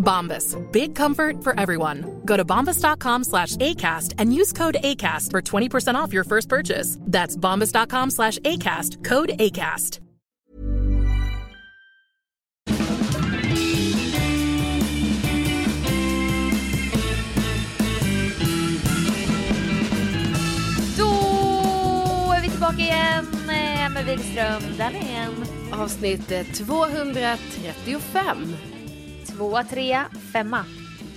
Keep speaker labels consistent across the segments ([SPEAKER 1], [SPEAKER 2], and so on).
[SPEAKER 1] Bombas. Big comfort for everyone. Go to bombas.com slash ACAST and use code ACAST for 20% off your first purchase. That's bombas.com slash ACAST. Code ACAST.
[SPEAKER 2] Då är vi tillbaka igen eh, med Widerström Dahlén.
[SPEAKER 3] Avsnitt eh, 235.
[SPEAKER 2] 2, 3, 5.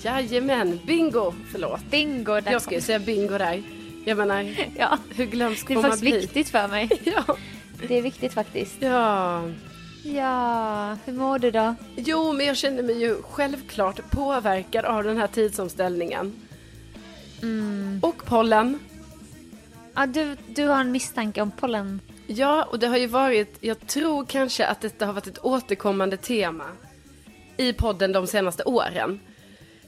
[SPEAKER 3] Jajamän, bingo! Förlåt.
[SPEAKER 2] Bingo! Där
[SPEAKER 3] Jag ska ju
[SPEAKER 2] kom-
[SPEAKER 3] säga bingo där. Jag menar,
[SPEAKER 2] Ja,
[SPEAKER 3] hur glömsk
[SPEAKER 2] det är
[SPEAKER 3] får man
[SPEAKER 2] faktiskt
[SPEAKER 3] bli?
[SPEAKER 2] viktigt för mig.
[SPEAKER 3] Ja.
[SPEAKER 2] Det är viktigt faktiskt.
[SPEAKER 3] ja.
[SPEAKER 2] Ja, hur mår du då?
[SPEAKER 3] Jo, men jag känner mig ju självklart påverkad av den här tidsomställningen.
[SPEAKER 2] Mm.
[SPEAKER 3] Och pollen.
[SPEAKER 2] Ja, du, du har en misstanke om pollen.
[SPEAKER 3] Ja, och det har ju varit, jag tror kanske att detta har varit ett återkommande tema i podden de senaste åren.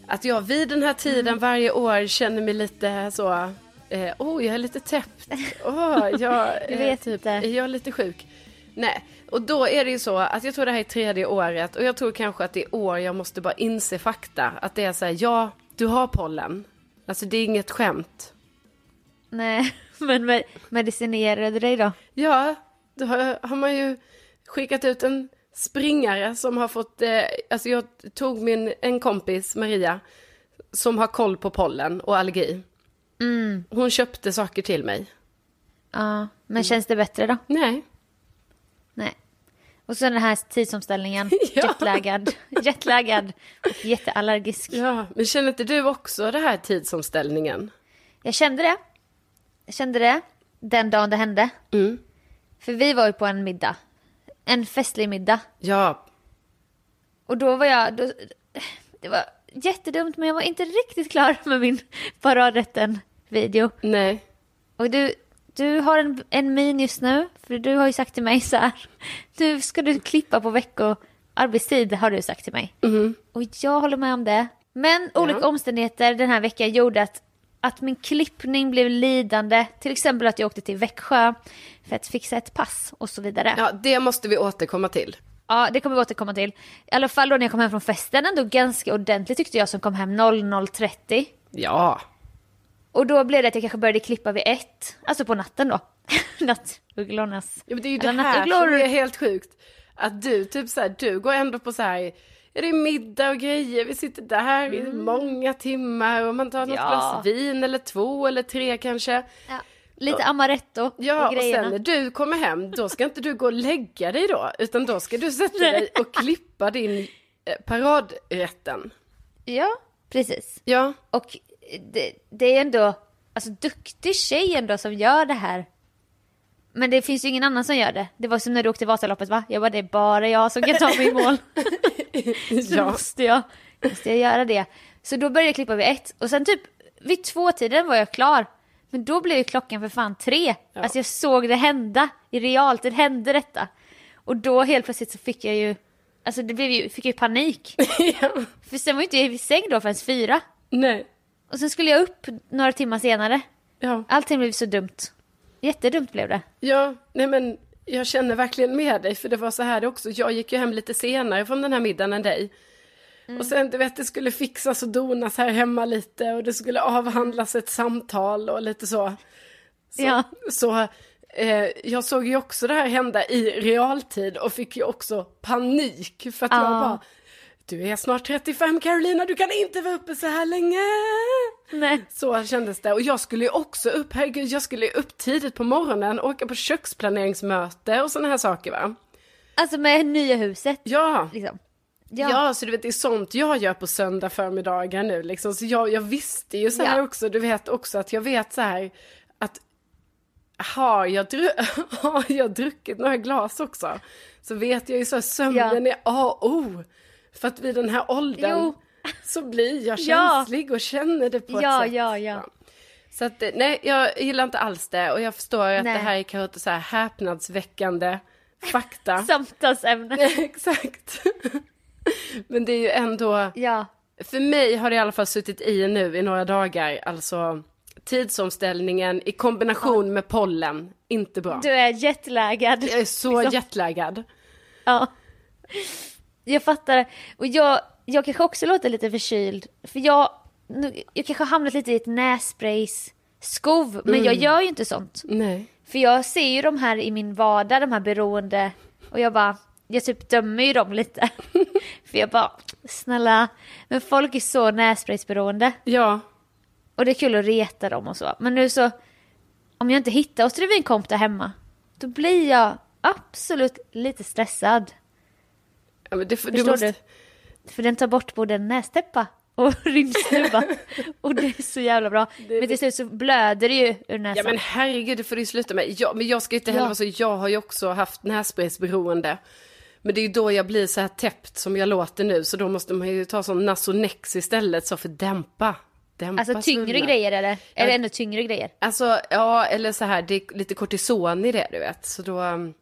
[SPEAKER 3] Att jag vid den här tiden
[SPEAKER 2] Mm.
[SPEAKER 3] varje år känner mig lite så, eh, oh jag är lite täppt, oh, jag,
[SPEAKER 2] Du vet
[SPEAKER 3] typ,
[SPEAKER 2] inte.
[SPEAKER 3] är jag lite sjuk? Nej, och då är det ju så att jag tror det här är tredje året och jag tror kanske att det är år jag måste bara inse fakta. Att det är så här, ja, du har pollen. Alltså det är inget skämt.
[SPEAKER 2] Nej, men med, medicinerade du dig då?
[SPEAKER 3] Ja, då har, har man ju skickat ut en springare som har fått, eh, alltså jag tog min, en kompis, Maria, som har koll på pollen och allergi. Hon köpte saker till mig.
[SPEAKER 2] Ja, men känns det bättre då?
[SPEAKER 3] Nej,
[SPEAKER 2] Nej. Och så den här tidsomställningen.
[SPEAKER 3] Ja.
[SPEAKER 2] Jetlaggad. Jetlaggad. Och jätteallergisk.
[SPEAKER 3] ja, men känner inte du också det här tidsomställningen?
[SPEAKER 2] Jag kände det. Jag kände det den dagen det hände. För vi var ju på en middag. En festlig middag.
[SPEAKER 3] Ja,
[SPEAKER 2] Och då var jag... Då, det var jättedumt men jag var inte riktigt klar med min paradrätten-video.
[SPEAKER 3] nej,
[SPEAKER 2] Och du, du har en, en min just nu. För du har ju sagt till mig så här. Nu ska du klippa på veckoarbetstid har du sagt till mig. Och jag håller med om det. Men olika omständigheter den här veckan gjorde att, att min klippning blev lidande. Till exempel att jag åkte till Växjö för att fixa ett pass och så vidare. Ja,
[SPEAKER 3] ja, det måste vi återkomma till.
[SPEAKER 2] det kommer vi återkomma till. I alla fall då när jag kom hem från festen ändå ganska ordentligt tyckte jag som kom hem 00.30.
[SPEAKER 3] Ja,
[SPEAKER 2] Och då blev det att jag kanske började klippa vid ett, alltså på natten då. Nattugglornas.
[SPEAKER 3] Ja, men det är ju det
[SPEAKER 2] Eller
[SPEAKER 3] här
[SPEAKER 2] nattugglor.
[SPEAKER 3] som är helt sjukt. Att du typ så här, du går ändå på så här, är det middag och grejer, vi sitter där i många timmar och man tar något
[SPEAKER 2] Mm. Ja.
[SPEAKER 3] glas vin eller två eller tre kanske.
[SPEAKER 2] Ja. Lite amaretto
[SPEAKER 3] Ja,
[SPEAKER 2] och
[SPEAKER 3] och
[SPEAKER 2] grejerna.
[SPEAKER 3] sen när du kommer hem, då ska inte du gå och lägga dig då, utan då ska du sätta
[SPEAKER 2] Nej.
[SPEAKER 3] dig och klippa din eh, paradrätten.
[SPEAKER 2] Ja, precis.
[SPEAKER 3] Ja,
[SPEAKER 2] Och det, det är ändå alltså, duktig tjej ändå som gör det här. Men det finns ju ingen annan som gör det. Det var som när du åkte Vasaloppet va? Jag bara, det är bara jag som kan ta mig i mål. Så
[SPEAKER 3] Ja.
[SPEAKER 2] måste, jag, måste jag göra det. Så då började jag klippa vid ett och sen typ vid två-tiden var jag klar. Men då blev ju klockan för fan tre. Alltså jag såg det hända. I realtid hände detta. Och då helt plötsligt så fick jag ju, alltså det blev ju, fick jag ju panik.
[SPEAKER 3] ja.
[SPEAKER 2] För sen var ju inte jag i säng då förrän fyra.
[SPEAKER 3] Nej.
[SPEAKER 2] Och sen skulle jag upp några timmar senare.
[SPEAKER 3] Ja.
[SPEAKER 2] Allting blev så dumt. Jättedumt blev det.
[SPEAKER 3] Ja, nej men jag känner verkligen med dig, för det var så här det också. Jag gick ju hem lite senare från den här middagen än dig.
[SPEAKER 2] Mm.
[SPEAKER 3] Och sen, du vet, det skulle fixas och donas här hemma lite och det skulle avhandlas ett samtal och lite så. Så,
[SPEAKER 2] Ja.
[SPEAKER 3] så eh, jag såg ju också det här hända i realtid och fick ju också panik för att jag
[SPEAKER 2] Ja.
[SPEAKER 3] bara, du är snart 35 Carolina, du kan inte vara uppe så här länge.
[SPEAKER 2] Nej.
[SPEAKER 3] Så kändes det. Och jag skulle ju också upp, herregud, jag skulle ju upp tidigt på morgonen, åka på köksplaneringsmöte och sådana här saker va.
[SPEAKER 2] Alltså med nya huset.
[SPEAKER 3] Ja.
[SPEAKER 2] Liksom.
[SPEAKER 3] Ja.
[SPEAKER 2] Ja.
[SPEAKER 3] så du vet det är sånt jag gör på söndag förmiddagar nu liksom. Så jag, jag visste ju så här
[SPEAKER 2] Ja.
[SPEAKER 3] också, du vet också att jag vet så här att har jag, dru- har jag druckit några glas också så vet jag ju så här, sömnen är A och O. För att vid den här åldern
[SPEAKER 2] Jo.
[SPEAKER 3] så blir jag
[SPEAKER 2] Ja.
[SPEAKER 3] känslig och känner det på ett
[SPEAKER 2] Ja,
[SPEAKER 3] sätt.
[SPEAKER 2] ja, ja.
[SPEAKER 3] Så att, eh, nej, jag gillar inte alls det och jag förstår att
[SPEAKER 2] Nej.
[SPEAKER 3] det här är kanske inte så här häpnadsväckande fakta.
[SPEAKER 2] Samtalsämne.
[SPEAKER 3] Exakt. Men det är ju ändå,
[SPEAKER 2] Ja.
[SPEAKER 3] för mig har det i alla fall suttit i nu i några dagar, alltså tidsomställningen i kombination med pollen, inte bra.
[SPEAKER 2] Du är jetlaggad.
[SPEAKER 3] jag är så
[SPEAKER 2] Liksom.
[SPEAKER 3] jetlaggad.
[SPEAKER 2] Ja. Jag fattar. Och jag, jag kanske också låter lite förkyld. För jag, nu, jag kanske har hamnat lite i ett nässprays skov. Men jag gör ju inte sånt.
[SPEAKER 3] Nej.
[SPEAKER 2] För jag ser ju de här i min vardag, de här beroende. Och jag bara, jag typ dömer ju dem lite. för jag bara, snälla. Men folk är så nässpraysberoende.
[SPEAKER 3] Ja,
[SPEAKER 2] Och det är kul att reta dem och så. Men nu så, om jag inte hittar oss till komp där hemma, då blir jag absolut lite stressad.
[SPEAKER 3] ja men det, får- du
[SPEAKER 2] Förstår
[SPEAKER 3] måste,
[SPEAKER 2] du? För den tar bort både nästäppa och rymdsnuva. och det är så jävla bra. Men till slut så blöder det ju ur
[SPEAKER 3] Ja
[SPEAKER 2] näsan.
[SPEAKER 3] men herregud, det får du ju sluta med. Jag, men jag ska ju inte heller
[SPEAKER 2] Ja.
[SPEAKER 3] vara så, jag har ju också haft nässprejsberoende. Men det är ju då jag blir så här täppt som jag låter nu, så då måste man ju ta sån Nasonex istället så för att dämpa. dämpa
[SPEAKER 2] alltså tyngre
[SPEAKER 3] svullen.
[SPEAKER 2] grejer är det. Eller ännu tyngre grejer.
[SPEAKER 3] Alltså, ja, eller så här, det är lite kortison i det, du vet. Så då, um,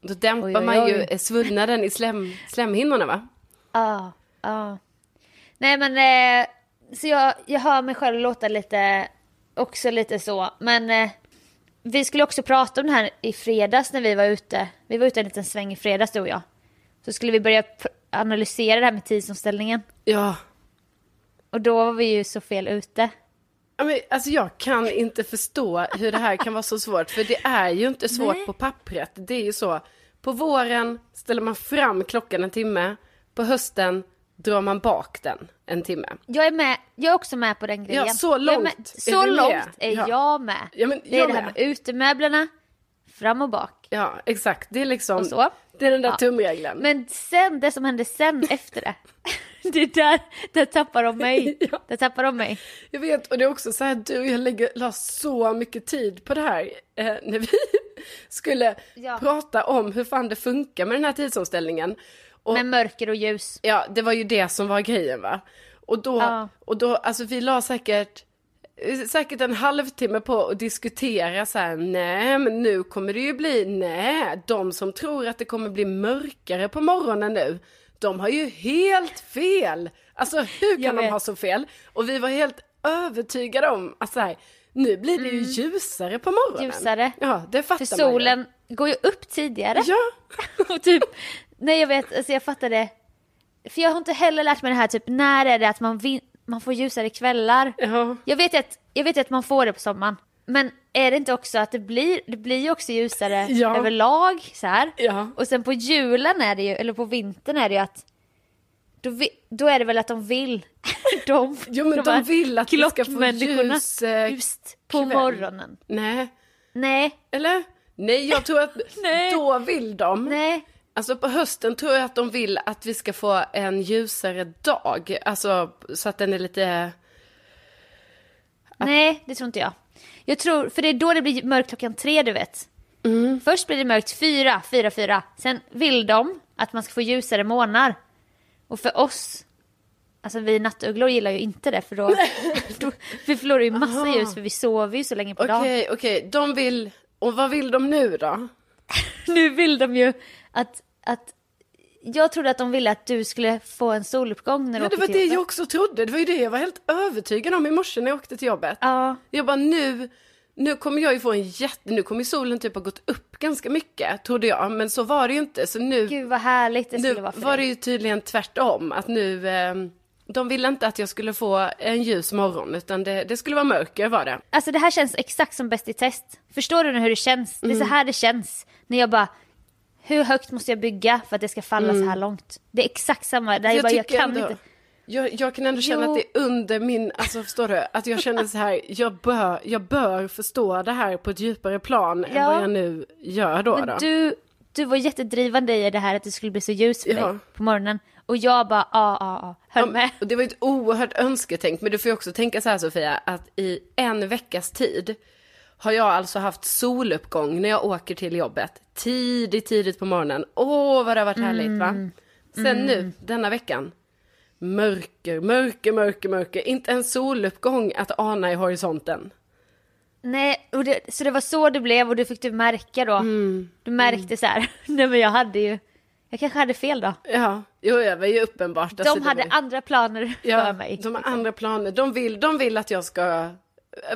[SPEAKER 3] då dämpar
[SPEAKER 2] Oj, oj,
[SPEAKER 3] man ju
[SPEAKER 2] oj.
[SPEAKER 3] eh, svullnaden i slem, slemhinnorna, va?
[SPEAKER 2] Ja, ja. Nej men, eh, så jag, jag hör mig själv låta lite, också lite så. Men eh, vi skulle också prata om det här i fredags när vi var ute. Vi var ute en liten sväng i fredags du och jag. Så skulle vi börja pr- analysera det här med tidsomställningen.
[SPEAKER 3] Ja.
[SPEAKER 2] Och då var vi ju så fel ute.
[SPEAKER 3] Ja, Men, alltså jag kan inte förstå hur det här kan vara så svårt, för det är ju inte svårt
[SPEAKER 2] Nej.
[SPEAKER 3] på pappret. Det är ju så, på våren ställer man fram klockan en timme, på hösten drar man bak den en timme.
[SPEAKER 2] Jag är med, jag är också med på den grejen.
[SPEAKER 3] Ja, så
[SPEAKER 2] Jag är
[SPEAKER 3] långt
[SPEAKER 2] med,
[SPEAKER 3] är
[SPEAKER 2] så
[SPEAKER 3] vi med.
[SPEAKER 2] långt är
[SPEAKER 3] Ja.
[SPEAKER 2] jag med.
[SPEAKER 3] Ja, men
[SPEAKER 2] det är
[SPEAKER 3] jag
[SPEAKER 2] det här
[SPEAKER 3] med.
[SPEAKER 2] med utemöblerna, fram och bak.
[SPEAKER 3] Ja, exakt. Det är liksom,
[SPEAKER 2] Och så.
[SPEAKER 3] det är den där
[SPEAKER 2] Ja.
[SPEAKER 3] tumregeln.
[SPEAKER 2] Men sen, det som hände sen efter det. Det är där, där tappar de mig.
[SPEAKER 3] Ja.
[SPEAKER 2] Där tappar de mig.
[SPEAKER 3] Jag vet, och det är också så här, du och jag lägger, la så mycket tid på det här eh, när vi skulle
[SPEAKER 2] Ja.
[SPEAKER 3] prata om hur fan det funkar med den här tidsomställningen. Och,
[SPEAKER 2] Med mörker och ljus.
[SPEAKER 3] Ja, det var ju det som var grejen va. Och då,
[SPEAKER 2] Ja.
[SPEAKER 3] och då alltså vi la säkert, eh, säkert en halvtimme på att diskutera så här, nej men nu kommer det ju bli, nej, de som tror att det kommer bli mörkare på morgonen nu, de har ju helt fel. Alltså hur
[SPEAKER 2] Jag
[SPEAKER 3] kan de
[SPEAKER 2] vet.
[SPEAKER 3] ha så fel? Och vi var helt övertygade om att så här, nu blir det ju ljusare på morgonen.
[SPEAKER 2] Mm. Ljusare.
[SPEAKER 3] Ja, det fattar
[SPEAKER 2] För
[SPEAKER 3] man ju.
[SPEAKER 2] solen går ju upp tidigare.
[SPEAKER 3] Ja.
[SPEAKER 2] Och typ, nej jag vet, alltså jag fattar det. För jag har inte heller lärt mig det här, typ när är det att man, vin- man får ljusare kvällar?
[SPEAKER 3] Ja.
[SPEAKER 2] Jag vet ju att, jag vet ju att man får det på sommaren. Men är det inte också att det blir, det blir ju också ljusare
[SPEAKER 3] Ja.
[SPEAKER 2] överlag så här.
[SPEAKER 3] Ja.
[SPEAKER 2] Och sen på julen är det ju, eller på vintern är det ju att då, vi, då är det väl att de vill. de,
[SPEAKER 3] Jo, men de
[SPEAKER 2] här
[SPEAKER 3] vill att vi ska få
[SPEAKER 2] klockmänniskorna
[SPEAKER 3] ljus, eh,
[SPEAKER 2] just på
[SPEAKER 3] kväll.
[SPEAKER 2] morgonen.
[SPEAKER 3] Nej.
[SPEAKER 2] Nej,
[SPEAKER 3] Eller? Nej, jag tror att
[SPEAKER 2] Nej.
[SPEAKER 3] då vill de.
[SPEAKER 2] nej.
[SPEAKER 3] Alltså på hösten tror jag att de vill att vi ska få en ljusare dag. Alltså så att den är lite...
[SPEAKER 2] Nej, det tror inte jag. Jag tror, för det är då det blir mörkt klockan tre, du vet.
[SPEAKER 3] Mm.
[SPEAKER 2] Först blir det mörkt fyra, fyra, fyra. Sen vill de att man ska få ljusare månar. Och för oss, alltså vi nattugglor gillar ju inte det för då, då vi förlorar ju massa ljus för vi sover ju så länge på dagen.
[SPEAKER 3] Okej, okej, de vill, och vad vill de nu då?
[SPEAKER 2] Nu vill de ju att, att jag trodde att de ville att du skulle få en soluppgång när du
[SPEAKER 3] Ja,
[SPEAKER 2] åker
[SPEAKER 3] det var
[SPEAKER 2] till
[SPEAKER 3] det
[SPEAKER 2] jobbet.
[SPEAKER 3] jag också trodde, det var ju det jag var helt övertygad om i morse när jag åkte till jobbet.
[SPEAKER 2] Ja,
[SPEAKER 3] Jag bara nu, nu kommer jag ju få en jätte, nu kommer ju solen typ ha gått upp ganska mycket, trodde jag, men så var det ju inte. Så nu,
[SPEAKER 2] gud vad härligt det
[SPEAKER 3] nu
[SPEAKER 2] skulle vara för
[SPEAKER 3] var det
[SPEAKER 2] dig.
[SPEAKER 3] ju tydligen tvärtom, att nu, ehm, de ville inte att jag skulle få en ljus morgon, utan det, det skulle vara mörker var det.
[SPEAKER 2] Alltså det här känns exakt som Bäst i test. Förstår du nu hur det känns? Det är
[SPEAKER 3] Mm.
[SPEAKER 2] så här det känns. När jag bara, hur högt måste jag bygga för att det ska falla så här långt? Det är exakt samma, där jag, bara, jag
[SPEAKER 3] Mm. tycker
[SPEAKER 2] kan
[SPEAKER 3] ändå-
[SPEAKER 2] inte.
[SPEAKER 3] Jag, jag kan ändå känna
[SPEAKER 2] Jo.
[SPEAKER 3] att det är under min, alltså förstår du, att jag känner så här, jag bör, jag bör förstå det här på ett djupare plan än
[SPEAKER 2] Ja.
[SPEAKER 3] vad jag nu gör då.
[SPEAKER 2] Men
[SPEAKER 3] då.
[SPEAKER 2] du, du var jättedrivande i det här att det skulle bli så ljust för
[SPEAKER 3] Ja.
[SPEAKER 2] dig på morgonen. Och jag bara, ja, ja, ja, höll med.
[SPEAKER 3] Och det var ju ett oerhört önsketänk, men du får ju också tänka så här Sofia, att i en veckas tid har jag alltså haft soluppgång när jag åker till jobbet. Tidigt, tidigt på morgonen. Åh, vad det har varit härligt
[SPEAKER 2] Mm.
[SPEAKER 3] va? Sen nu, denna veckan. Mörker, mörker, mörker, mörker. Inte en soluppgång att ana i horisonten.
[SPEAKER 2] Nej, och det, så det var så det blev och du fick du märka då.
[SPEAKER 3] Mm.
[SPEAKER 2] Du märkte så här, nej men jag hade ju, jag kanske hade fel då.
[SPEAKER 3] Ja, jo, det var ju uppenbart. Alltså,
[SPEAKER 2] De
[SPEAKER 3] det
[SPEAKER 2] hade
[SPEAKER 3] var ju-
[SPEAKER 2] andra planer för mig. Liksom.
[SPEAKER 3] De har andra planer. De vill, de vill att jag ska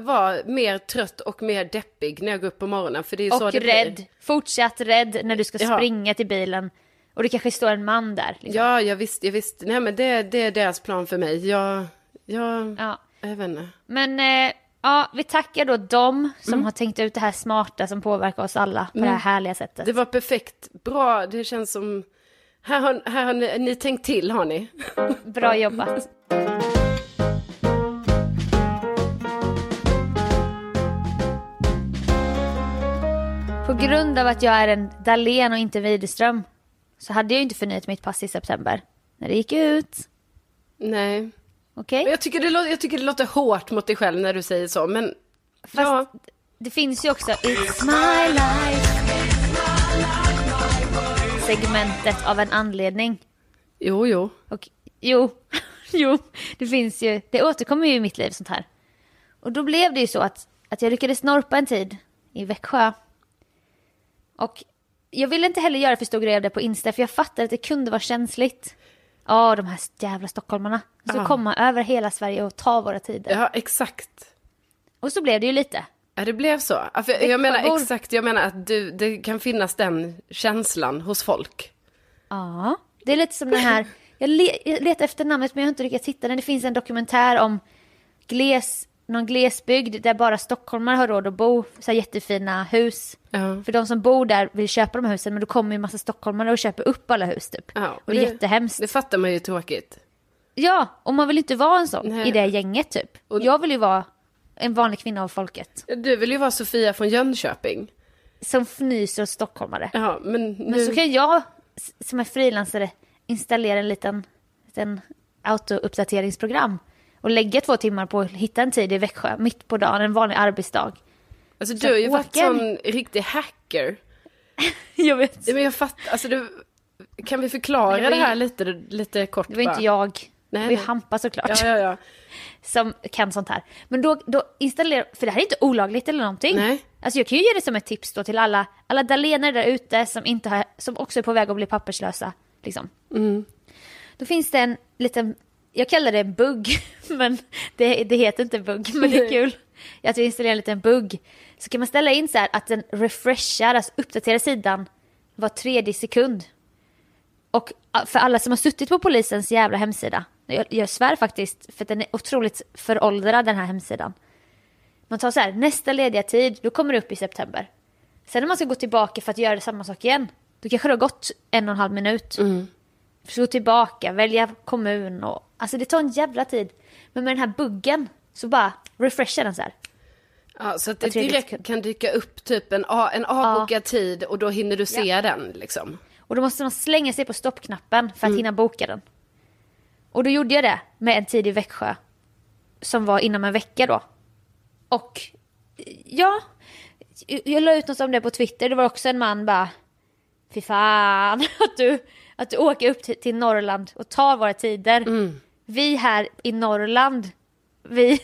[SPEAKER 3] vara mer trött och mer deppig när jag går upp på morgonen. För det är ju så
[SPEAKER 2] Och
[SPEAKER 3] det
[SPEAKER 2] rädd.
[SPEAKER 3] Blir.
[SPEAKER 2] Fortsatt rädd när du ska
[SPEAKER 3] Ja.
[SPEAKER 2] springa till bilen. Och det kanske står en man där. Liksom.
[SPEAKER 3] Ja, jag visste, jag visste. Nej, men det, det är deras plan för mig. Jag, jag,
[SPEAKER 2] Ja.
[SPEAKER 3] jag vet inte.
[SPEAKER 2] Men eh, ja, vi tackar då dem som
[SPEAKER 3] Mm.
[SPEAKER 2] har tänkt ut det här smarta som påverkar oss alla på det här härliga sättet.
[SPEAKER 3] Det var perfekt, bra, det känns som... Här har, här har ni, ni tänkt till, har ni?
[SPEAKER 2] Bra jobbat. På grund av att jag är en Dahlén och inte Widerström så hade jag ju inte förnyat mitt pass i september. När det gick ut.
[SPEAKER 3] Nej.
[SPEAKER 2] Okej?
[SPEAKER 3] Men Jag tycker, det låter, jag tycker det låter hårt mot dig själv när du säger så, men... Ja.
[SPEAKER 2] Fast det finns ju också It's my life segmentet av en anledning.
[SPEAKER 3] Jo, jo.
[SPEAKER 2] Och jo, jo, det finns ju, det återkommer ju i mitt liv sånt här. Och då blev det ju så att, att jag lyckades snorpa en tid i Växjö. Och jag ville inte heller göra för stor grej av det på Insta för jag fattade att det kunde vara känsligt. Ja, de här jävla stockholmarna. De ska
[SPEAKER 3] Ja.
[SPEAKER 2] komma över hela Sverige och ta våra tider.
[SPEAKER 3] Ja, exakt.
[SPEAKER 2] Och så blev det ju lite.
[SPEAKER 3] Ja, det blev så. Ja, för jag
[SPEAKER 2] Veckobor.
[SPEAKER 3] menar exakt, jag menar att du, det kan finnas den känslan hos folk.
[SPEAKER 2] Ja, det är lite som den här... Jag, le, jag letar efter namnet men jag har inte lyckats hitta den. Det finns en dokumentär om gles, någon glesbygd där bara stockholmare har råd att bo. Så här jättefina hus.
[SPEAKER 3] Ja.
[SPEAKER 2] För de som bor där vill köpa de här husen men då kommer ju en massa stockholmare och köper upp alla hus typ.
[SPEAKER 3] Ja,
[SPEAKER 2] och det är jättehemskt.
[SPEAKER 3] Det fattar man ju är tråkigt.
[SPEAKER 2] Ja, och man vill inte vara en sån
[SPEAKER 3] Nej.
[SPEAKER 2] i det gänget typ.
[SPEAKER 3] Och-
[SPEAKER 2] Jag vill ju vara en vanlig kvinna av folket.
[SPEAKER 3] Du vill ju vara Sofia från Jönköping.
[SPEAKER 2] Som fnyser åt stockholmare.
[SPEAKER 3] Ja, men nu...
[SPEAKER 2] Men så kan jag s- som är frilansare installera en liten, liten autouppdateringsprogram och lägga två timmar på att hitta en tid i Växjö mitt på dagen, en vanlig arbetsdag.
[SPEAKER 3] alltså, du har ju varit
[SPEAKER 2] åker.
[SPEAKER 3] sån riktig hacker.
[SPEAKER 2] Jag vet.
[SPEAKER 3] Ja, men jag fattar, alltså du... Kan vi förklara
[SPEAKER 2] Det var
[SPEAKER 3] det,
[SPEAKER 2] ju-
[SPEAKER 3] här lite, lite kort
[SPEAKER 2] Det var inte
[SPEAKER 3] bara?
[SPEAKER 2] jag.
[SPEAKER 3] Nej,
[SPEAKER 2] det var ju
[SPEAKER 3] nej.
[SPEAKER 2] Hampa såklart
[SPEAKER 3] Ja, ja, ja.
[SPEAKER 2] som kan sånt här. Men då, då installerar, för det här är inte olagligt eller någonting.
[SPEAKER 3] Nej.
[SPEAKER 2] Alltså jag kan ju ge det som ett tips då till alla, alla dalenare där ute som, inte har, som också är på väg att bli papperslösa. Liksom. Då finns det en liten, jag kallar det en bugg, men det, det heter inte bugg, men det är kul. Att vi installerar en liten bugg. Så kan man ställa in så här att den refreshar, alltså uppdaterar sidan var tredje sekund. Och ah, för alla som har suttit på polisens jävla hemsida, jag, jag svär faktiskt för att den är otroligt föråldrad den här hemsidan. Man tar så här, nästa lediga tid, då kommer det upp i september. Sen när man ska gå tillbaka för att göra samma sak igen, då kanske det har gått en och en halv minut. Mm. Så gå tillbaka, välja kommun och... Alltså det tar en jävla tid. Men med den här buggen så bara refreshar den så här.
[SPEAKER 3] ja så att det
[SPEAKER 2] Vad trevligt.
[SPEAKER 3] direkt kan dyka upp typ en, a- en avbokad tid och då hinner du se den liksom.
[SPEAKER 2] Och då måste man slänga sig på stoppknappen för att hinna boka den. Och då gjorde jag det med en tid i Växjö. Som var inom en vecka då. Och ja, jag la ut något om det på Twitter. Det var också en man bara, fy fan att du, att du åker upp till, till Norrland och tar våra tider. Vi här i Norrland, vi,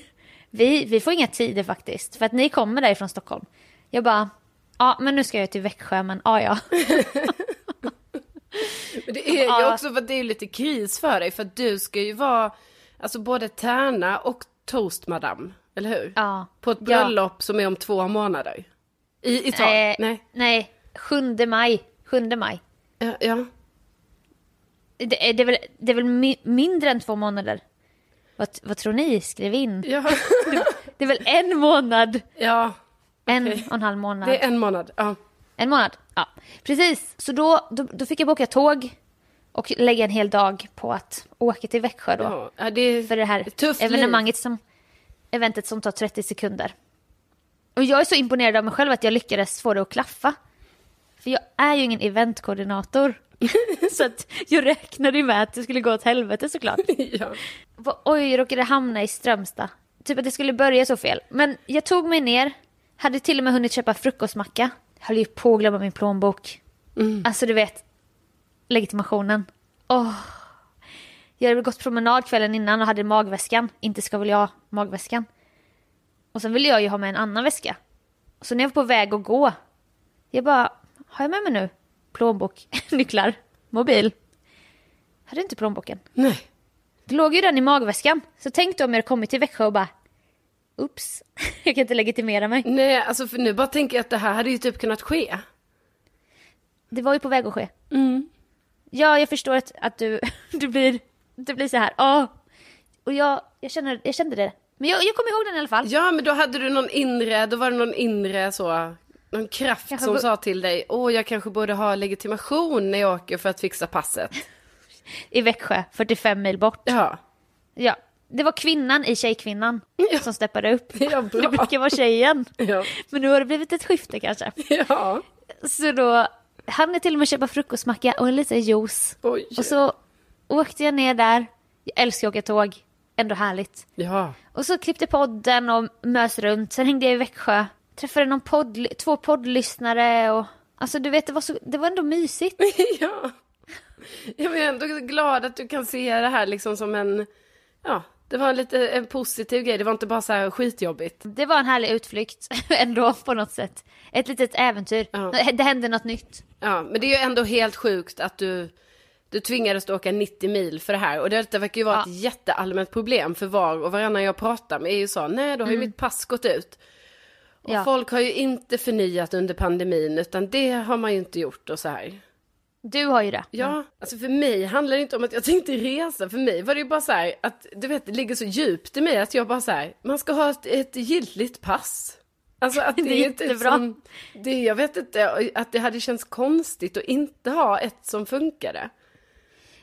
[SPEAKER 2] vi, vi får inga tider faktiskt. För att ni kommer därifrån Stockholm. Jag bara, ja men nu ska jag till Växjö men ja ja.
[SPEAKER 3] Men det är ju
[SPEAKER 2] Ja.
[SPEAKER 3] också för att det är lite kris för dig för att du ska ju vara alltså både tärna och toastmadam, eller hur?
[SPEAKER 2] Ja.
[SPEAKER 3] På ett
[SPEAKER 2] Ja.
[SPEAKER 3] bröllop som är om två månader. I Italien?
[SPEAKER 2] Eh,
[SPEAKER 3] Nej.
[SPEAKER 2] nej, 7 maj. 7 maj.
[SPEAKER 3] Ja, ja.
[SPEAKER 2] Det är, det är väl, det är väl mi- mindre än två månader? Vad, vad tror ni? Skrev in.
[SPEAKER 3] Ja.
[SPEAKER 2] Det är väl en månad?
[SPEAKER 3] ja,
[SPEAKER 2] En och en halv månad.
[SPEAKER 3] det är en månad. Ja.
[SPEAKER 2] En månad? Ja, precis. Så då, då, då fick jag boka tåg och lägga en hel dag på att åka till Växjö då.
[SPEAKER 3] Ja. Ja, det är
[SPEAKER 2] För det här
[SPEAKER 3] ett tufft liv.
[SPEAKER 2] evenemanget som, eventet som tar 30 sekunder. Och jag är så imponerad av mig själv att jag lyckades få det att klaffa. För jag är ju ingen eventkoordinator. så att jag räknade ju med att det skulle gå åt helvete såklart.
[SPEAKER 3] Ja.
[SPEAKER 2] Va- Oj, jag råkade hamna i Strömstad. Typ att det skulle börja så fel. Men jag tog mig ner, hade till och med hunnit köpa frukostmacka. Höll ju på att glömma min plånbok. Alltså du vet, legitimationen. Åh. Jag hade gått promenad kvällen innan och hade magväskan. Inte ska väl jag ha magväskan. Och sen ville jag ju ha med en annan väska. Så när jag var på väg att gå, jag bara, har jag med mig nu? Plånbok, nycklar, mobil. Hade inte plånboken.
[SPEAKER 3] Nej.
[SPEAKER 2] Det låg ju den i magväskan. Så tänk då om jag hade kommit till Växjö och bara Oops, jag kan inte legitimera mig.
[SPEAKER 3] Nej, alltså för nu bara tänker jag att det här hade ju typ kunnat ske.
[SPEAKER 2] Det var ju på väg att ske. Ja, jag förstår att, att du, du, blir, du blir så här. Åh. Och jag, jag, känner, jag kände det. Men jag, jag kommer ihåg den i alla fall.
[SPEAKER 3] Ja, men då hade du någon inre, då var det någon inre så, någon kraft
[SPEAKER 2] Kanske
[SPEAKER 3] som
[SPEAKER 2] bo-
[SPEAKER 3] sa till dig, åh jag kanske borde ha legitimation när jag åker för att fixa passet.
[SPEAKER 2] I Växjö, 45 mil bort.
[SPEAKER 3] Ja,
[SPEAKER 2] Ja. Det var kvinnan i Tjejkvinnan som steppade upp.
[SPEAKER 3] Ja, bra.
[SPEAKER 2] Det brukar vara tjejen.
[SPEAKER 3] ja,
[SPEAKER 2] Men nu har det blivit ett skifte kanske.
[SPEAKER 3] ja.
[SPEAKER 2] Så då hann jag till och med köpa frukostmacka och en liten juice.
[SPEAKER 3] Oj.
[SPEAKER 2] Och så åkte jag ner där. Jag älskar att åka tåg. Ändå härligt.
[SPEAKER 3] Ja,
[SPEAKER 2] Och så klippte podden och mös runt. Sen hängde jag i Växjö. Träffade någon podd, två poddlyssnare och... Alltså du vet, det var, så, det var ändå mysigt.
[SPEAKER 3] ja. Jag är ändå glad att du kan se det här liksom som en, ja, det var en lite en positiv grej, det var inte bara så här skitjobbigt.
[SPEAKER 2] Det var en härlig utflykt ändå på något sätt. Ett litet äventyr.
[SPEAKER 3] Ja.
[SPEAKER 2] Det hände något nytt.
[SPEAKER 3] Ja, men det är ju ändå helt sjukt att du, du tvingades att åka 90 mil för det här. Och detta verkar ju vara ett jätteallmänt problem för var och varannan jag pratar med är ju så, nej då har ju mitt pass gått ut. Och
[SPEAKER 2] Ja.
[SPEAKER 3] folk har ju inte förnyat under pandemin, utan det har man ju inte gjort och så här.
[SPEAKER 2] Du har ju det.
[SPEAKER 3] Ja, alltså för mig handlar det inte om att jag tänkte resa, för mig var det ju bara så här att, du vet, det ligger så djupt i mig att jag bara så här, man ska ha ett, ett giltigt pass. Alltså att det,
[SPEAKER 2] Det är
[SPEAKER 3] är typ
[SPEAKER 2] jättebra.
[SPEAKER 3] som, det, jag vet inte, att det hade känts konstigt att inte ha ett som funkade.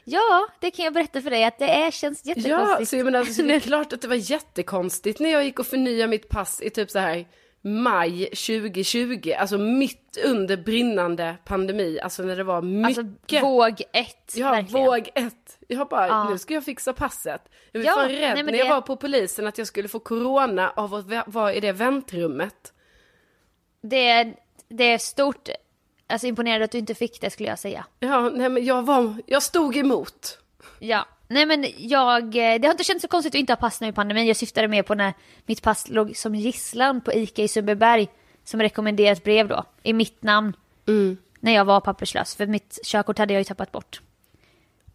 [SPEAKER 2] Ja, det kan jag berätta för dig att det är, känns
[SPEAKER 3] Ja,
[SPEAKER 2] jättekonstigt.
[SPEAKER 3] så jag menar, alltså, det är klart att det var jättekonstigt när jag gick och förnyade mitt pass i typ så här maj 2020, alltså mitt under brinnande pandemi, alltså när det var mycket.
[SPEAKER 2] alltså våg ett,
[SPEAKER 3] Ja,
[SPEAKER 2] verkligen.
[SPEAKER 3] våg ett. Jag bara,
[SPEAKER 2] Ja.
[SPEAKER 3] nu ska jag fixa passet. Jag var
[SPEAKER 2] Ja,
[SPEAKER 3] fan rädd
[SPEAKER 2] nej, men
[SPEAKER 3] när jag
[SPEAKER 2] det-
[SPEAKER 3] var på polisen att jag skulle få corona av att vä- vara i det väntrummet.
[SPEAKER 2] Det är, det är stort. Alltså imponerande att du inte fick det skulle jag säga.
[SPEAKER 3] Ja, nej men jag var, jag stod emot.
[SPEAKER 2] Ja. Nej men jag, eh, det har inte känts så konstigt att inte ha pass nu i pandemin. Jag syftade mer på när mitt pass låg som gisslan på ICA i Sundbyberg. Som rekommenderat brev då, i mitt namn.
[SPEAKER 3] Mm.
[SPEAKER 2] När jag var papperslös, för mitt körkort hade jag ju tappat bort.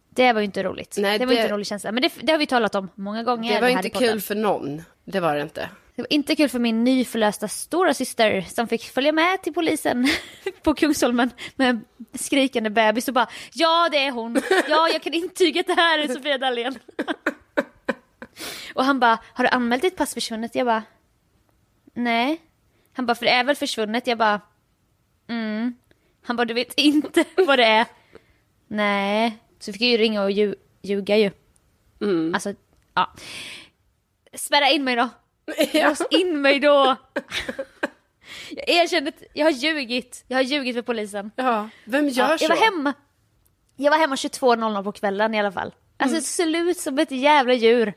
[SPEAKER 2] Det var ju inte roligt.
[SPEAKER 3] Nej,
[SPEAKER 2] det var ju
[SPEAKER 3] det-
[SPEAKER 2] inte en rolig känsla. Men det, det har vi talat om många gånger.
[SPEAKER 3] det var
[SPEAKER 2] här
[SPEAKER 3] inte
[SPEAKER 2] i podden.
[SPEAKER 3] kul för någon. Det var det inte.
[SPEAKER 2] Det var inte kul för min nyförlösta stora syster som fick följa med till polisen på Kungsholmen med en skrikande bebis och bara ja det är hon, ja jag kan intyga att det här är Sofia Dalén. och han bara har du anmält ditt pass försvunnet? Jag bara nej. Han bara för det är väl försvunnet? Jag bara mm. Han bara du vet inte vad det är. nej. Så fick jag ju ringa och lju- ljuga ju. Alltså ja. Spärra in mig då. Lås in mig då! Jag erkände att jag har ljugit. Jag har ljugit för polisen.
[SPEAKER 3] Ja, vem gör
[SPEAKER 2] Ja,
[SPEAKER 3] så?
[SPEAKER 2] jag var hemma. Jag var hemma 22.00 på kvällen i alla fall. Alltså det ser ut som ett jävla djur.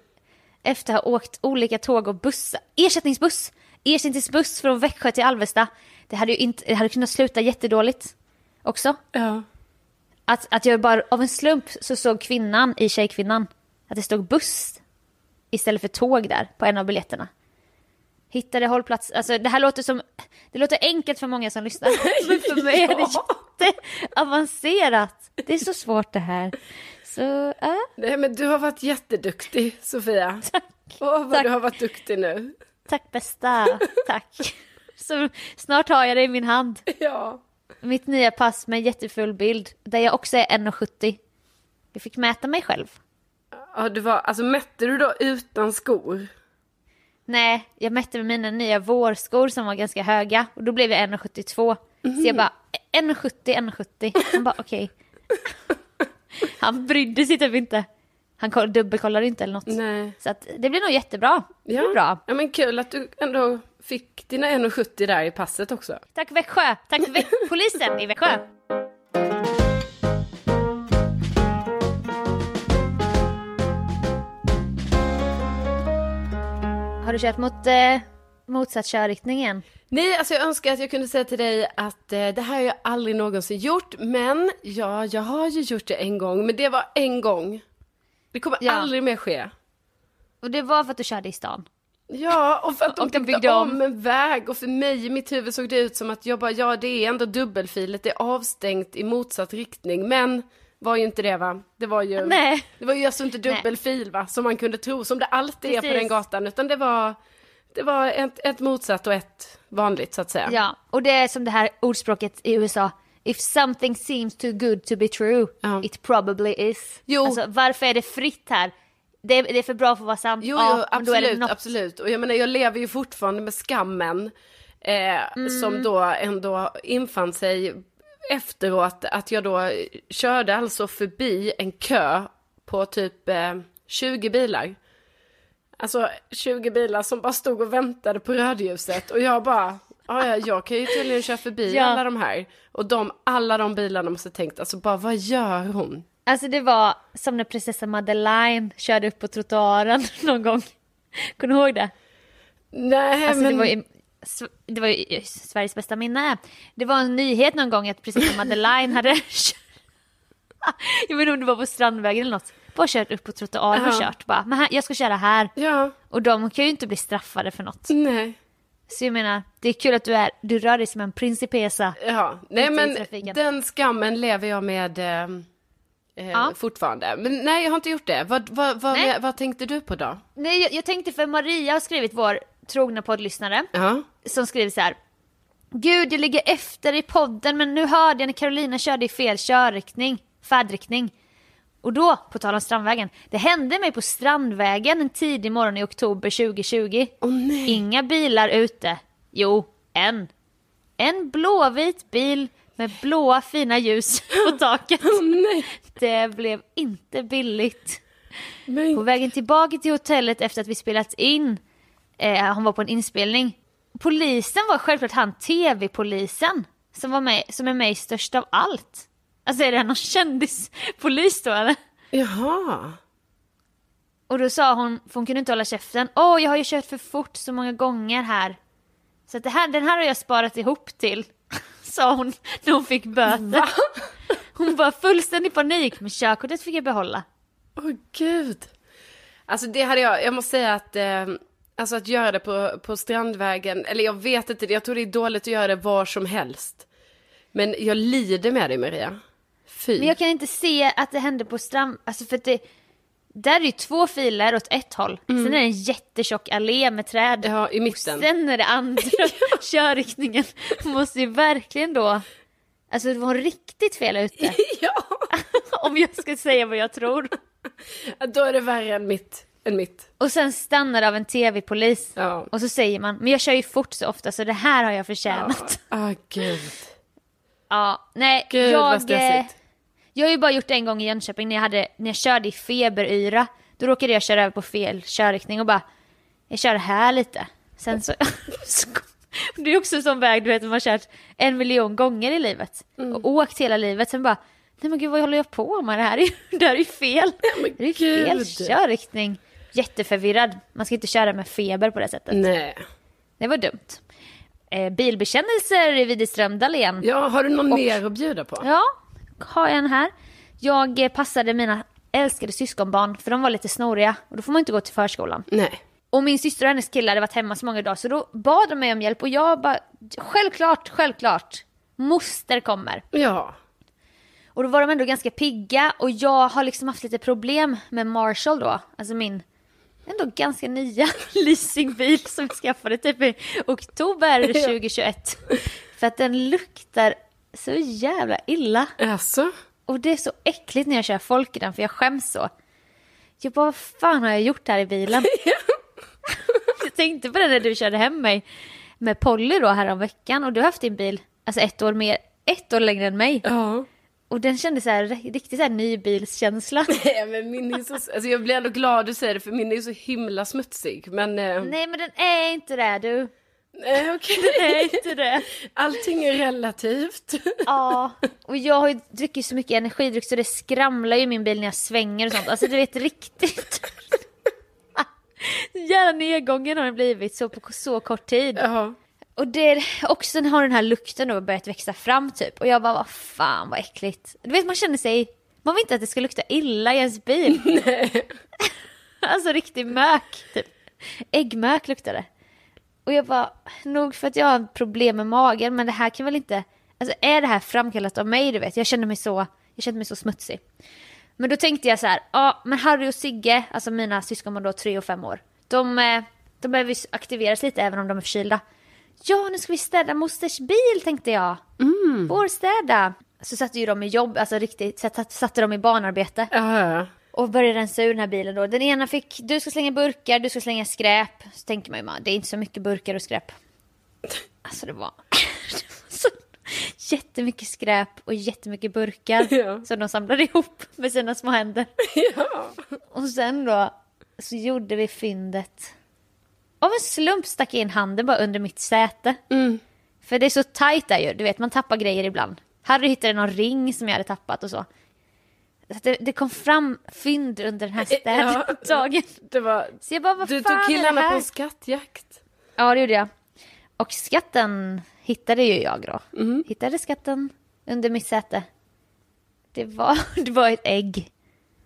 [SPEAKER 2] Efter att ha åkt olika tåg och bussar. Ersättningsbuss. ersättningsbuss från Växjö till Alvesta. Det hade ju inte, det hade kunnat sluta jättedåligt också.
[SPEAKER 3] Ja.
[SPEAKER 2] Att, att jag bara, av en slump så såg kvinnan i Tjejkvinnan att det stod buss istället för tåg där på en av biljetterna. Hittade hållplats, alltså det här låter som, det låter enkelt för många som lyssnar. Men för mig är det jätteavancerat. Det är så svårt det här. Så, ja.
[SPEAKER 3] Nej men du har varit jätteduktig Sofia.
[SPEAKER 2] Tack.
[SPEAKER 3] Åh vad
[SPEAKER 2] Tack.
[SPEAKER 3] du har varit duktig nu.
[SPEAKER 2] Tack bästa, tack. Så snart har jag det i min hand.
[SPEAKER 3] Ja.
[SPEAKER 2] Mitt nya pass med jättefull bild, där jag också är 1,70. Jag fick mäta mig själv.
[SPEAKER 3] ja du var, alltså mätte du då utan skor?
[SPEAKER 2] Nej, jag mätte med mina nya vårskor som var ganska höga och då blev jag 1,72. Så jag bara 1,70, 1,70. Han bara okej. Han brydde sig typ inte. Han koll- dubbelkollade inte eller något.
[SPEAKER 3] Nej.
[SPEAKER 2] Så att det blir nog jättebra. Det blir bra.
[SPEAKER 3] ja men kul att du ändå fick dina 1,70 där i passet också.
[SPEAKER 2] Tack Växjö! Tack Vä- polisen i Växjö! Har du kört mot eh, motsatt körriktning igen?
[SPEAKER 3] Nej, alltså jag önskar att jag kunde säga till dig att eh, det här har jag aldrig någonsin gjort, men ja, jag har ju gjort det en gång, men det var en gång. Det kommer
[SPEAKER 2] Ja.
[SPEAKER 3] aldrig mer ske.
[SPEAKER 2] Och det var för att du körde i stan?
[SPEAKER 3] Ja, och för att de,
[SPEAKER 2] Och de
[SPEAKER 3] byggde,
[SPEAKER 2] byggde
[SPEAKER 3] om.
[SPEAKER 2] om.
[SPEAKER 3] en väg och för mig i mitt huvud såg det ut som att jag bara, ja det är ändå dubbelfilet, det är avstängt i motsatt riktning, men var ju inte det va? Det var ju,
[SPEAKER 2] Nej.
[SPEAKER 3] det var ju alltså inte
[SPEAKER 2] Nej.
[SPEAKER 3] dubbelfil va, som man kunde tro, som det alltid är på
[SPEAKER 2] Precis.
[SPEAKER 3] den gatan, utan det var, det var ett, ett motsatt och ett vanligt så att säga.
[SPEAKER 2] Ja, och det är som det här ordspråket i USA. If something seems too good to be true,
[SPEAKER 3] Ja.
[SPEAKER 2] it probably is.
[SPEAKER 3] Jo.
[SPEAKER 2] Alltså, varför är det fritt här? Det är, det är för bra för att vara sant.
[SPEAKER 3] Jo,
[SPEAKER 2] Ja,
[SPEAKER 3] jo
[SPEAKER 2] men då är det
[SPEAKER 3] absolut,
[SPEAKER 2] något.
[SPEAKER 3] absolut. Och jag menar, jag lever ju fortfarande med skammen eh,
[SPEAKER 2] Mm.
[SPEAKER 3] som då ändå infann sig efteråt, att jag då körde alltså förbi en kö på typ eh, 20 bilar. Alltså 20 bilar som bara stod och väntade på rödljuset och jag bara, "Ja, ja, jag kan ju tydligen köra förbi
[SPEAKER 2] Ja.
[SPEAKER 3] alla de här. Och de, alla de bilarna måste ha tänkt, alltså bara vad gör hon?
[SPEAKER 2] Alltså det var som när prinsessa Madeleine körde upp på trottoaren någon gång. Kommer du ihåg det?
[SPEAKER 3] Nej
[SPEAKER 2] Alltså
[SPEAKER 3] men,
[SPEAKER 2] det var ju, Sv- det var ju Sveriges bästa minne. Det var en nyhet någon gång att prinsessa Madeleine hade kört- Jag vet inte om det var på Strandvägen eller något. Bara kört upp på trottoaren och
[SPEAKER 3] Ja.
[SPEAKER 2] kört bara. Men här, jag ska köra här.
[SPEAKER 3] ja,
[SPEAKER 2] Och de kan ju inte bli straffade för något.
[SPEAKER 3] nej.
[SPEAKER 2] Så jag menar, det är kul att du är, du rör dig som en prinsipessa.
[SPEAKER 3] Ja, nej
[SPEAKER 2] Ute i
[SPEAKER 3] men
[SPEAKER 2] trafiken.
[SPEAKER 3] den skammen lever jag med eh, eh,
[SPEAKER 2] Ja.
[SPEAKER 3] fortfarande. Men nej, jag har inte gjort det. Vad, vad, vad,
[SPEAKER 2] Nej.
[SPEAKER 3] vad tänkte du på då?
[SPEAKER 2] Nej, jag, jag tänkte för Maria har skrivit, vår trogna poddlyssnare.
[SPEAKER 3] Ja,
[SPEAKER 2] som skriver så här. Gud, jag ligger efter i podden men nu hörde jag när Carolina körde i fel körriktning, färdriktning. Och då, på tal om Strandvägen, det hände mig på Strandvägen en tidig morgon i oktober 2020. Inga bilar ute. Jo, en. En blåvit bil med blåa fina ljus på taket. Det blev inte billigt.
[SPEAKER 3] men,
[SPEAKER 2] På vägen tillbaka till hotellet efter att vi spelat in, eh, han var på en inspelning. Polisen var självklart han tv-polisen som, var med, som är med i Störst av allt. Alltså är det här någon kändispolis då eller?
[SPEAKER 3] jaha.
[SPEAKER 2] Och då sa hon, för hon kunde inte hålla käften, åh jag har ju kört för fort så många gånger här. Så att det här, den här har jag sparat ihop till, sa hon när hon fick böter. Hon var fullständig panik, men körkortet fick jag behålla.
[SPEAKER 3] Åh gud. Alltså det hade jag, jag måste säga att, eh, alltså att göra det på, på Strandvägen, eller jag vet inte, jag tror det är dåligt att göra det var som helst. Men jag lider med dig Maria. Fy.
[SPEAKER 2] Men jag kan inte se att det hände på strand... Alltså för att det... Där är ju två filer åt ett håll. Sen är det en jättetjock allé med träd.
[SPEAKER 3] Mm. Ja, i mitten.
[SPEAKER 2] Och sen är det andra körriktningen. Hon måste ju verkligen då... Alltså det var riktigt fel ute.
[SPEAKER 3] Ja,
[SPEAKER 2] om jag ska säga vad jag tror.
[SPEAKER 3] då är det värre än mitt. Än mitt.
[SPEAKER 2] Och sen stannar av en tv-polis.
[SPEAKER 3] Ja.
[SPEAKER 2] Och så säger man, men jag kör ju fort så ofta så det här har jag förtjänat. Ja,
[SPEAKER 3] Ah, gud.
[SPEAKER 2] nej.
[SPEAKER 3] Gud
[SPEAKER 2] jag,
[SPEAKER 3] vad
[SPEAKER 2] eh,
[SPEAKER 3] stressigt.
[SPEAKER 2] Jag har ju bara gjort det en gång i Jönköping när jag, hade, när jag körde i feberyra. Då råkade jag köra över på fel körriktning och bara, jag kör här lite. Sen så... så kom- det är också en sån väg du vet, man har kört en miljon gånger i livet.
[SPEAKER 3] Mm.
[SPEAKER 2] Och åkt hela livet. Sen bara, nej men gud vad håller jag på med? Det här är ju, det här är ju fel.
[SPEAKER 3] men
[SPEAKER 2] det är ju fel
[SPEAKER 3] gud. Mm.
[SPEAKER 2] körriktning. Jätteförvirrad. Man ska inte köra med feber på det sättet.
[SPEAKER 3] Nej.
[SPEAKER 2] Det var dumt. Eh, bilbekännelser vid Ström Dahlén.
[SPEAKER 3] Ja, har du någon mer att bjuda på?
[SPEAKER 2] Ja, har jag en här. Jag eh, passade mina älskade syskonbarn för de var lite snoriga och då får man inte gå till förskolan.
[SPEAKER 3] Nej.
[SPEAKER 2] Och min syster och hennes killar hade varit hemma så många dagar så då bad de mig om hjälp och jag bara självklart, självklart. Moster kommer.
[SPEAKER 3] Ja.
[SPEAKER 2] Och då var de ändå ganska pigga och jag har liksom haft lite problem med Marshall då, alltså min ändå ganska nya leasingbil som jag skaffade typ i oktober 2021. För att den luktar så jävla illa.
[SPEAKER 3] Alltså?
[SPEAKER 2] Och det är så äckligt när jag kör folk i den för jag skäms så. Jag bara, vad fan har jag gjort här i bilen? jag tänkte på det när du körde hem mig med Polly då häromveckan och du har haft din bil, alltså ett år mer, ett år längre än mig.
[SPEAKER 3] Ja.
[SPEAKER 2] Och den kändes så här, riktigt så här nybilskänsla.
[SPEAKER 3] Nej, men min är så... Alltså jag blir ändå glad du säger det för min är ju så himla smutsig. Men... eh,
[SPEAKER 2] Nej men den är inte det du.
[SPEAKER 3] Nej, okej.
[SPEAKER 2] Den är inte det.
[SPEAKER 3] Allting är relativt.
[SPEAKER 2] Ja, och jag har ju druckit så mycket energidryck så det skramlar ju i min bil när jag svänger och sånt. Alltså du vet riktigt. Jävla nedgången har den blivit så på så kort tid.
[SPEAKER 3] Ja.
[SPEAKER 2] Och det, också har den här lukten då börjat växa fram typ. Och jag bara, vad fan vad äckligt. Du vet man känner sig, man vill inte att det ska lukta illa i ens bil. Nej. alltså riktig mök typ. Äggmök luktar det. Och jag bara, nog för att jag har problem med magen men det här kan väl inte, alltså är det här framkallat av mig du vet? Jag känner mig så, jag känner mig så smutsig. Men då tänkte jag så här, ja men Harry och Sigge, alltså mina syskon då tre och fem år, de, eh, de behöver ju aktiveras lite även om de är förkylda. Ja, nu ska vi städa mosters bil tänkte jag. Mm. Vårstäda. Så satte ju de i jobb, alltså riktigt, så satt- satte de i barnarbete
[SPEAKER 3] Ja, ja, ja.
[SPEAKER 2] och började rensa ur den här bilen då. Den ena fick, du ska slänga burkar, du ska slänga skräp. Så tänker man ju, "Man, det är inte så mycket burkar och skräp. Alltså det var, det var så jättemycket skräp och jättemycket burkar
[SPEAKER 3] Ja.
[SPEAKER 2] som de samlade ihop med sina små händer. Och sen då så gjorde vi fyndet. Av en slump stack jag in handen bara under mitt säte.
[SPEAKER 3] Mm.
[SPEAKER 2] För det är så tajt där ju, du vet man tappar grejer ibland. Harry hittade någon ring som jag hade tappat och så. så att det, det kom fram fynd under den här städdagen.
[SPEAKER 3] Det var...
[SPEAKER 2] Så jag bara, vad
[SPEAKER 3] Eh, Du
[SPEAKER 2] fan
[SPEAKER 3] tog
[SPEAKER 2] är det
[SPEAKER 3] killarna
[SPEAKER 2] här?
[SPEAKER 3] på en skattjakt.
[SPEAKER 2] Ja, det gjorde jag. Och skatten hittade ju jag då.
[SPEAKER 3] Mhm.
[SPEAKER 2] Hittade skatten under mitt säte. Det var, det var ett ägg.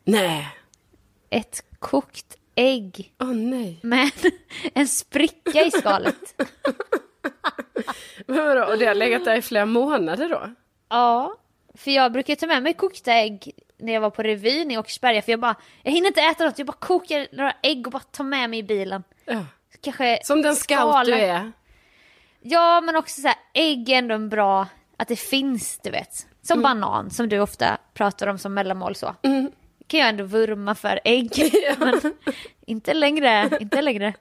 [SPEAKER 3] Nej.
[SPEAKER 2] Ett kokt ägg
[SPEAKER 3] Åh nej.
[SPEAKER 2] med en spricka i skalet.
[SPEAKER 3] Men vadå, och det har legat där i flera månader då?
[SPEAKER 2] Ja, för jag brukar ta med mig kokta ägg när jag var på revyn i Åkersberga för jag bara, jag hinner inte äta något, jag bara kokar några ägg och bara tar med mig i bilen.
[SPEAKER 3] Ja.
[SPEAKER 2] Kanske
[SPEAKER 3] Som den scout du
[SPEAKER 2] skala.
[SPEAKER 3] är.
[SPEAKER 2] Ja, men också så här, ägg är ändå en bra, att det finns, du vet.
[SPEAKER 3] Mm.
[SPEAKER 2] Som banan, som du ofta pratar om som mellanmål så. Kan jag ändå vurma för ägg, men inte längre, inte längre.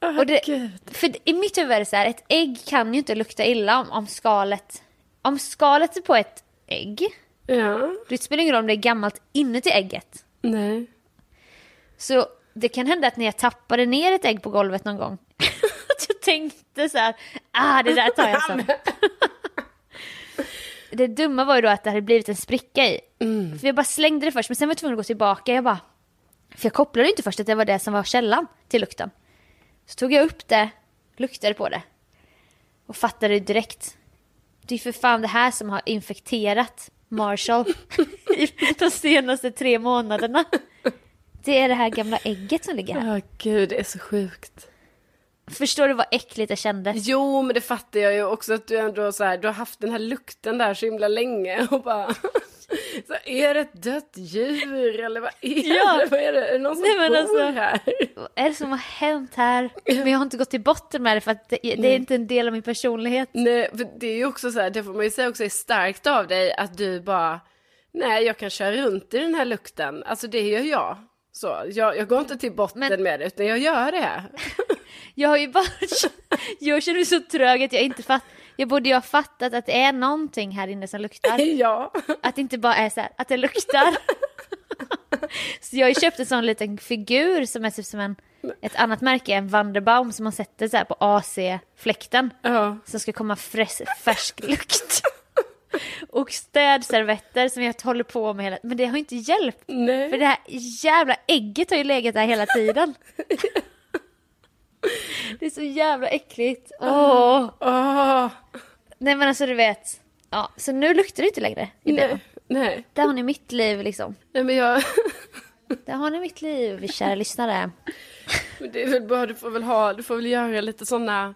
[SPEAKER 3] Åh,
[SPEAKER 2] Och det-
[SPEAKER 3] herregud.
[SPEAKER 2] För i mitt huvud är det så här, ett ägg kan ju inte lukta illa om, om skalet, om skalet är på ett ägg,
[SPEAKER 3] Ja.
[SPEAKER 2] det spelar ingen roll om det är gammalt inuti ägget.
[SPEAKER 3] Nej.
[SPEAKER 2] Så det kan hända att när jag tappade ner ett ägg på golvet någon gång, att jag tänkte så här, ah det där tar jag sen. det dumma var ju då att det hade blivit en spricka i. För jag bara slängde det först, men sen var jag tvungen att gå tillbaka. Jag bara, för jag kopplade ju inte först att det var det som var källan till lukten. Så tog jag upp det, luktade på det och fattade ju direkt. Det är ju för fan det här som har infekterat Marshall i de senaste tre månaderna. Det är det här gamla ägget som ligger här.
[SPEAKER 3] Ja, gud, det är så sjukt.
[SPEAKER 2] Förstår du vad äckligt det kändes?
[SPEAKER 3] Jo, men det fattar jag ju också att du ändå så här, du har haft den här lukten där så himla länge och bara... Så här, är det ett dött djur eller vad är
[SPEAKER 2] Ja.
[SPEAKER 3] det? Vad är det? Är det någon som
[SPEAKER 2] Nej, men
[SPEAKER 3] bor
[SPEAKER 2] alltså-
[SPEAKER 3] här?
[SPEAKER 2] Vad är det som har hänt här? Men jag har inte gått till botten med det för att det, det är inte en del av min personlighet.
[SPEAKER 3] Nej, för det är ju också så här, det får man ju säga också är starkt av dig att du bara, nej jag kan köra runt i den här lukten, alltså det gör jag. Så, jag, jag går inte till botten
[SPEAKER 2] Men-
[SPEAKER 3] med det utan jag gör det.
[SPEAKER 2] Jag har ju bara... Jag känner mig så trög att jag inte fatt... Jag borde ju ha fattat att det är någonting här inne som luktar.
[SPEAKER 3] ja.
[SPEAKER 2] Att det inte bara är så här, att det luktar. Så jag har ju köpt en sån liten figur som är typ som en, ett annat märke, en Vanderbaum som man sätter så här på AC-fläkten.
[SPEAKER 3] ja.
[SPEAKER 2] som ska komma fräs, färsk lukt. Och städservetter som jag håller på med hela Men det har inte hjälpt.
[SPEAKER 3] Nej.
[SPEAKER 2] För det här jävla ägget har ju legat där hela tiden. Det är så jävla äckligt. Åh.
[SPEAKER 3] Åh,
[SPEAKER 2] Nej men alltså du vet. Ja, så nu luktar det inte längre i benen.
[SPEAKER 3] nej, nej.
[SPEAKER 2] Där har ni mitt liv liksom.
[SPEAKER 3] Nej men jag...
[SPEAKER 2] Där har ni mitt liv, kära lyssnare.
[SPEAKER 3] Men Det är väl bra, du får väl ha, du får väl göra lite sådana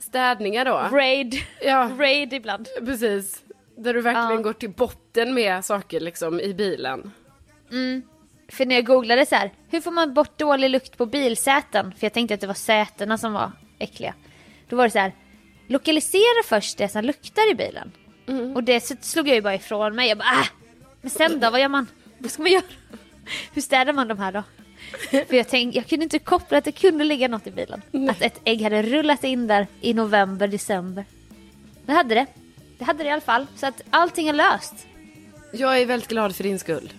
[SPEAKER 3] städningar då.
[SPEAKER 2] Raid.
[SPEAKER 3] Ja,
[SPEAKER 2] Raid ibland.
[SPEAKER 3] precis. Där du verkligen
[SPEAKER 2] Ja.
[SPEAKER 3] går till botten med saker liksom i bilen.
[SPEAKER 2] För när jag googlade så här, hur får man bort dålig lukt på bilsäten? För jag tänkte att det var sätena som var äckliga. Då var det så här, lokalisera först det som luktar i bilen. Och det så slog jag ju bara ifrån mig. Jag bara, ah! Men sen då, vad gör man? Vad ska man göra? Hur städar man de här då? För jag tänkte, jag kunde inte koppla att det kunde ligga något i bilen. Att ett ägg hade rullat in där i november, december. Det hade det. Det hade det i alla fall. Så att allting är löst.
[SPEAKER 3] Jag är väldigt glad för din skull.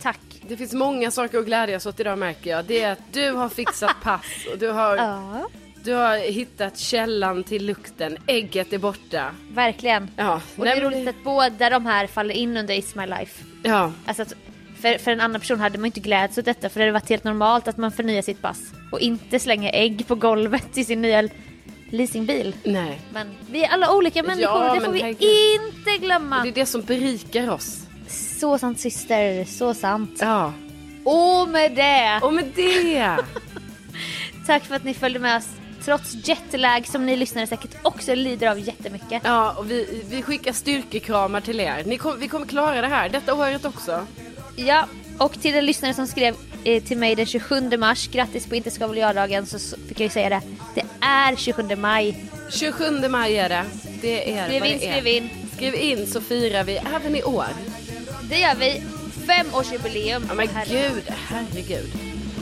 [SPEAKER 2] Tack.
[SPEAKER 3] Det finns många saker att glädjas åt idag märker jag. Det är att du har fixat pass och du har,
[SPEAKER 2] Ja,
[SPEAKER 3] du har hittat källan till lukten. Ägget är borta.
[SPEAKER 2] verkligen.
[SPEAKER 3] Ja,
[SPEAKER 2] Och
[SPEAKER 3] nej,
[SPEAKER 2] det är
[SPEAKER 3] men-
[SPEAKER 2] roligt att båda de här faller in under It's My Life.
[SPEAKER 3] Ja,
[SPEAKER 2] Alltså att för, för en annan person hade man ju inte glädjats åt detta för det hade varit helt normalt att man förnyar sitt pass och inte slänger ägg på golvet i sin nya leasingbil.
[SPEAKER 3] nej.
[SPEAKER 2] Men vi är alla olika människor och det
[SPEAKER 3] men
[SPEAKER 2] får vi
[SPEAKER 3] herregud.
[SPEAKER 2] inte glömma.
[SPEAKER 3] Det är det som berikar oss.
[SPEAKER 2] Så sant syster, så sant.
[SPEAKER 3] Ja,
[SPEAKER 2] Och med det,
[SPEAKER 3] och med det.
[SPEAKER 2] tack för att ni följde med oss trots jetlag som ni lyssnare säkert också lider av jättemycket.
[SPEAKER 3] Ja, och vi, vi skickar styrkekramar till er. Ni kom, vi kommer klara det här detta året också.
[SPEAKER 2] Ja, och till den lyssnare som skrev eh, till mig den 27 mars, grattis på inte ska väl jag-dagen, så, så fick jag ju säga det. Det är 27 maj.
[SPEAKER 3] 27 maj är det. Det är
[SPEAKER 2] Skriv
[SPEAKER 3] vad
[SPEAKER 2] in,
[SPEAKER 3] det är.
[SPEAKER 2] skriv in.
[SPEAKER 3] Skriv in så firar vi även i år.
[SPEAKER 2] Det gör vi. Femårsjubileum.
[SPEAKER 3] Ja men
[SPEAKER 2] Herregud.
[SPEAKER 3] gud, herregud.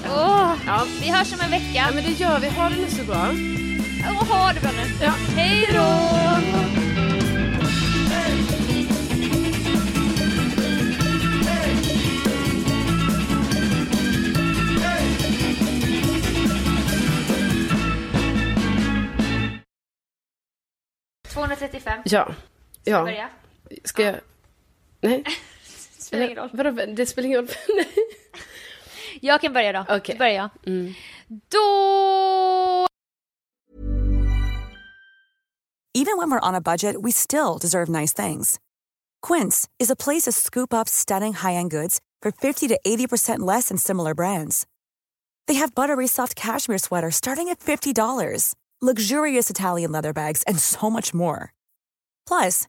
[SPEAKER 2] Åh,
[SPEAKER 3] Ja.
[SPEAKER 2] Vi hörs om en vecka.
[SPEAKER 3] Ja men det gör vi. Ha det nu så bra.
[SPEAKER 2] Och ha det bra nu.
[SPEAKER 3] Ja.
[SPEAKER 2] Hej då! ...235.
[SPEAKER 3] Ja. Ja.
[SPEAKER 2] Börja.
[SPEAKER 3] Ska jag? Nej.
[SPEAKER 2] Spelar ingen roll.
[SPEAKER 3] Vadå, det spelar ingen roll. Nej.
[SPEAKER 2] Jag kan börja då.
[SPEAKER 3] Okej.
[SPEAKER 2] Då
[SPEAKER 3] Mm.
[SPEAKER 2] börjar jag. Då
[SPEAKER 4] Even when we're on a budget, we still deserve nice things. Quince is a place to scoop up stunning high-end goods for 50 to 80% less than similar brands. They have buttery soft cashmere sweaters starting at $50, luxurious Italian leather bags, and so much more. Plus,